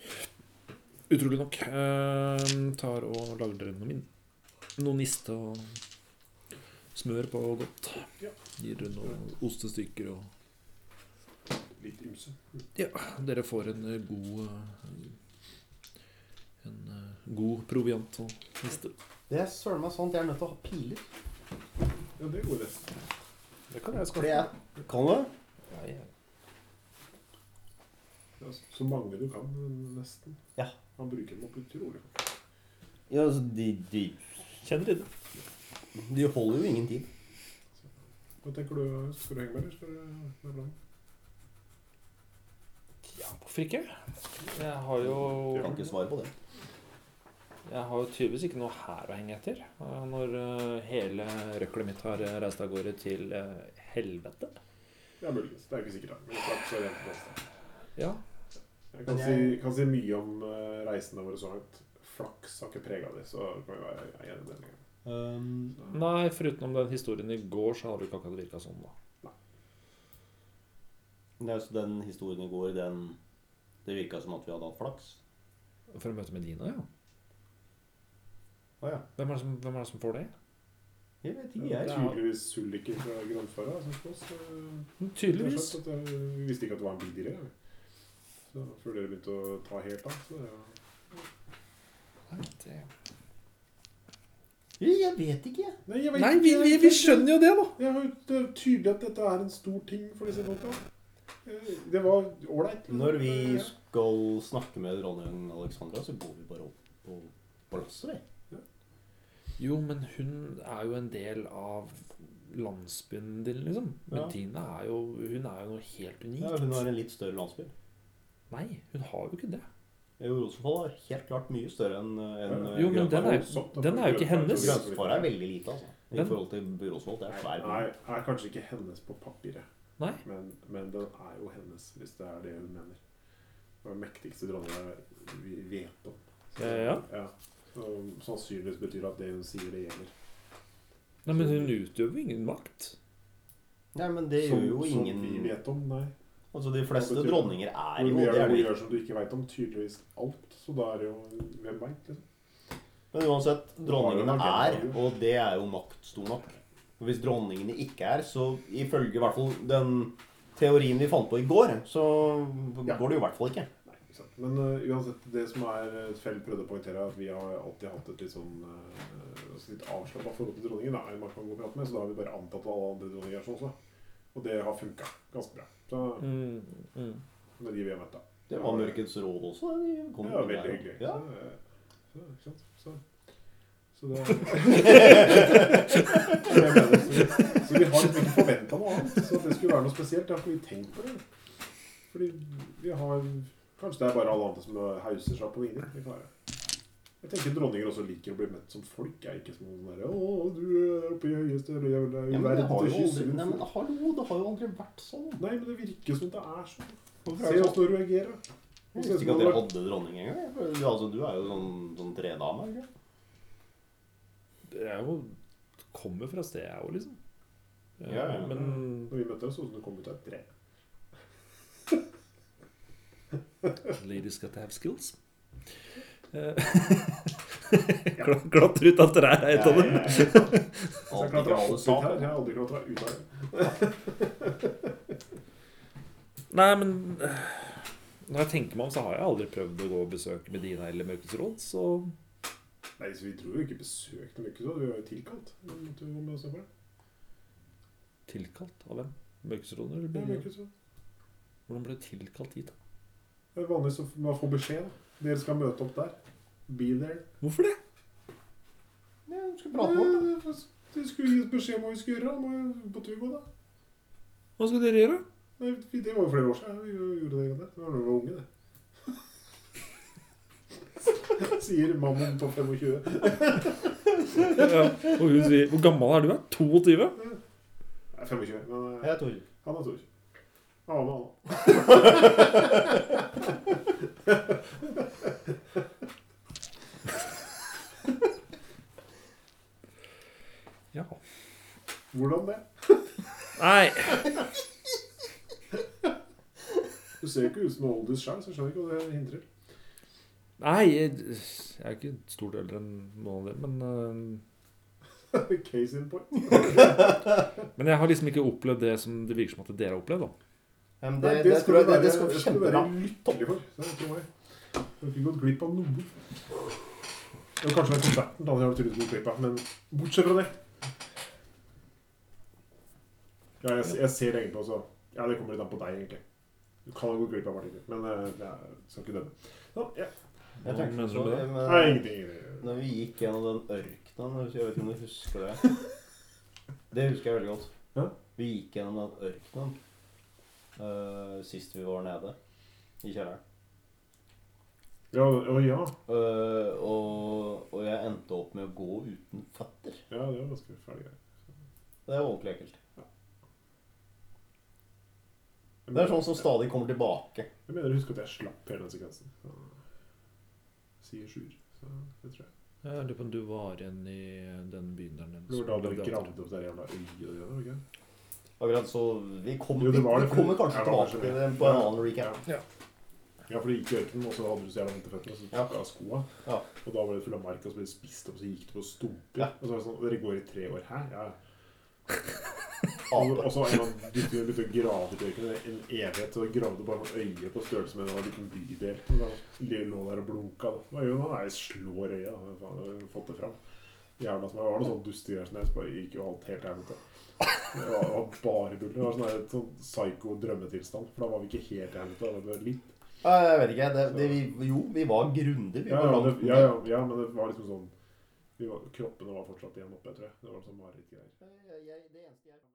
utrolig nok, eh, tar og lager dere noe min. Noe niste og smør på godt. Ja. Gir dere noen ostestykker og Litt ymse. Ja, dere får en eh, god eh, En eh, god proviant og niste. Det er søren meg sant, jeg er nødt til å ha piler. Ja, det er gode. Det kan jeg Fordi jeg Kan du? Ja, så- så mange du kan, nesten. Ja. Han bruker dem opp utrolig fort. Ja, altså, de, de, Kjenner dere det? De holder jo ingen tid. Hva tenker du? Skal du henge med, eller skal du være blank? Ja, hvorfor ikke? Jeg har jo Ja. Kan ikke svare på det. Jeg har jo tydeligvis ikke noe her å henge etter. Og Når eh, hele røklet mitt har eh, reist av gårde til eh, helvete. Ja, muligens. Det er ikke sikkert. da. Men det er klart, så er det en plass, da. Ja. Jeg kan, Men si, jeg- kan si mye om eh, reisene våre så langt. Flaks har ikke prega det, så kan vi være enige den gangen. Ehm, Um, Så- Nei, foruten om den historien i går, så hadde det ikke akkurat virka sånn, da. det er altså den historien i går, den Det virka som at vi hadde hatt flaks. For å møte Medina, ja. Å ja. Hvem er det som, hvem er det som får det? Jeg vet ikke, Det er jeg. tydeligvis Sulliker fra grønnfara som slåss. eh, Mm, Tydeligvis. Rett og slett at jeg- Vi visste ikke at det var en bil i det. Så før dere begynte å ta helt av, så det er jo- Nei, det... jeg jeg vet ikke, jeg. Nei, jeg vet Nei, ikke, vi, jeg vi, vet vi ikke. skjønner jo det, da. Jeg har jo det er tydelig at dette er en stor ting for disse folka. Eh, Det var ålreit. Når vi eh, skal snakke med dronning Alexandra, så går vi bare opp på palasset, vi. Jo, men hun er jo en del av landsbyen din, liksom. Ja. Medina er jo Hun er jo noe helt unikt. Ja, hun har en litt større landsby. Nei, hun har jo ikke det. Jo, Rosenvoll er helt klart mye større enn enn, eh, Jo, men den er, Grønfar- den er jo ikke hennes. Grønsvar er veldig lite, altså. I Den- forhold til Rosenvoll. Det er Nei, svær by. nei, er kanskje ikke hennes på papiret, Nei. men, men den er jo hennes, hvis det er det hun mener. Det var den mektigste dronninga vi vet om. Eh, ja. Som sannsynligvis betyr at det hun sier, det gjelder. Nei, men hun utøver ingen makt. Nei, men det Som- gjør jo ingen Som vi vet om, nei. Altså, de fleste Hva betyr det? dronninger er Men jo vi det. er det Er det vi ikke. gjør som du ikke veit om, tydeligvis alt. Så da er det jo Hvem veit, liksom. Men uansett, Har dronningene jo er, en agenda. og det er jo makt stor nok. Og Hvis dronningene ikke er, så ifølge i hvert fall den teorien vi fant på i går, så Ja. går det jo i hvert fall ikke. Nei, ikke sant. Men eh, uansett, det som er eh, Fell prøvde å poengtere, er at vi har alltid hatt et litt sånn eh, altså litt avslappa forhold til dronningen. Da. Man kan gå og prate med, så da har vi bare antatt at alle andre dronninger er sånn også. Og det har funka ganske bra. Så Mm, mm. med de vi har møtt, da. Det var Mørkets råd også. De kom Det var med der. veldig hyggelig. Ja. Så, eh, Så, ikke sant? Så, så det Jeg mener, så, så vi har liksom ikke forventa noe annet. Så at det skulle være noe spesielt, det har ikke vi tenkt på. det. Fordi vi har Kanskje det er bare alle andre som hauser seg opp på linje. Vi klarer det. Jeg tenker dronninger også liker å bli møtt som folk. Er ikke som noen derre 'Å, du er oppe i høyeste eller jeg vil deg Ja, men det verden har til jo kyss'. aldri, nei, men hallo, det har jo aldri vært sånn. Nei, men det virker som det er sånn. Hvorfor er det Se sånn? åssen du reagerer. Jeg visste ikke at dere hadde dronning engang. jeg. Du, altså, du er jo sånn, sånn tredame. ikke? Det er jo Kommer fra stedet, jeg òg, liksom. Eh, Ja, ja. Men Når vi møtte oss, så det sånn kom ut av et tre. ladies got to have skills. Eh, Kla- Klatre ut av trær er et av dem. Jeg- Så jeg Alt ikke alle klatra opp ut her. sammen. Jeg har aldri klatra ut her. Nei, men eh, når jeg tenker meg om, så har jeg aldri prøvd å gå og besøke Medina eller Mørkets råd, så Nei, så vi dro jo ikke besøkte mye, så vi var jo tilkalt. Vi måtte jo gå med oss og se på det. Tilkalt av hvem? Mørkets råd eller Det er Medina? mye, så. Hvordan ble det tilkalt hit? da? Det er vanlig så man får beskjed. da. Dere skal møte opp der. Be there. Hvorfor det? Ja, du skal prate med Nei, det- Det skulle gi oss beskjed om hva vi skulle gjøre. Må på tur gå, da. Hva skal dere gjøre? Nei, vi- det var jo flere år siden vi gjorde det. Det var da vi var unge, det. Sier mannen på 25. Ja, og hun sier Hvor gammel er du? da? 22? Nei, 25, men eh, Jeg tror han er stor. Han var med, han. Ja. Hvordan det? Nei. Du ser jo ikke ut som noen oldis sjøl, så jeg skjønner ikke hva det hindrer. Nei, jeg, jeg er ikke stort eldre enn noen av dere, men eh, Case in point. Men jeg har liksom ikke opplevd det som det virker som at dere har opplevd. da. Ja, men Nei, det, det, det skal tror du jeg det, være, det skal vi det skal du kjempebra. være lykkelig for. Det er ikke meg. Du har ikke gått glipp av noe. Det var kanskje den konserten da hadde jeg trodd du gikk glipp av, men bortsett fra det Ja, jeg, jeg ser det egentlig også. Ja, det kommer litt an på deg, egentlig. Du kan jo gå glipp av partier, men eh, jeg skal ikke dømme. Så, ja. Jeg Hva tenkte mener du på med det, det? Nei, men- ingenting. ingenting. Når vi gikk gjennom den ørkenen Jeg vet ikke om du husker det. Det husker jeg veldig godt. Ja. Vi gikk gjennom den ørkenen eh, sist vi var nede i kjelleren. Ja, og ja. Eh, og, og jeg endte opp med å gå uten føtter. ja, det var ganske ferdig greier. Det er ordentlig ekkelt. Det er Jeg sånn som stadig kommer tilbake. mener å huske at jeg slapp hele den sekvensen. Så, Sier Sjur. Så det tror jeg. Jeg lurer på om du var igjen i den byen der nede. Det var da dere som- gravde opp det jævla øyet og det der, var det ikke? Akkurat så Vi kommer, Jo, det var vi det, for- kommer kanskje Ja, det var tilbake kanskje til det. det på en Ja. annen recap. Ja. Ja, for det gikk i ørkenen, og så hadde du så jævla vondt i føttene, og så tok jeg av skoa. Ja. Og da ble det full av mark, og så ble det spist opp, og så gikk det på stumper. Ja. Og så var det sånn Dere går i tre år her? Ja. Og Ape. og så var en gang begynte vi å grave i ørkenen en evighet, og gravde bare sånn øye på størrelse med en liten bydel. Og da lå der og blunka. da. Hva gjør man? Nei, jeg slår øya. da. Faen, jeg har fått det fram. Jævla som jeg var noe sånn dustegreier som jeg bare gikk jo alt helt til helvete. Det var, var bare bull. Det var sånn der, et sånn psyko drømmetilstand. For da var vi ikke helt til helvete. da var Det var litt Nei, Jeg vet ikke. Det, det, vi, jo, vi var grundig. Vi Ja, var ja, langt det, ja, ja, ja, men det var liksom sånn vi var, Kroppene var fortsatt igjen oppe, tror jeg. Det var sånn marerittgreier. Jeg- jeg- det eneste jeg-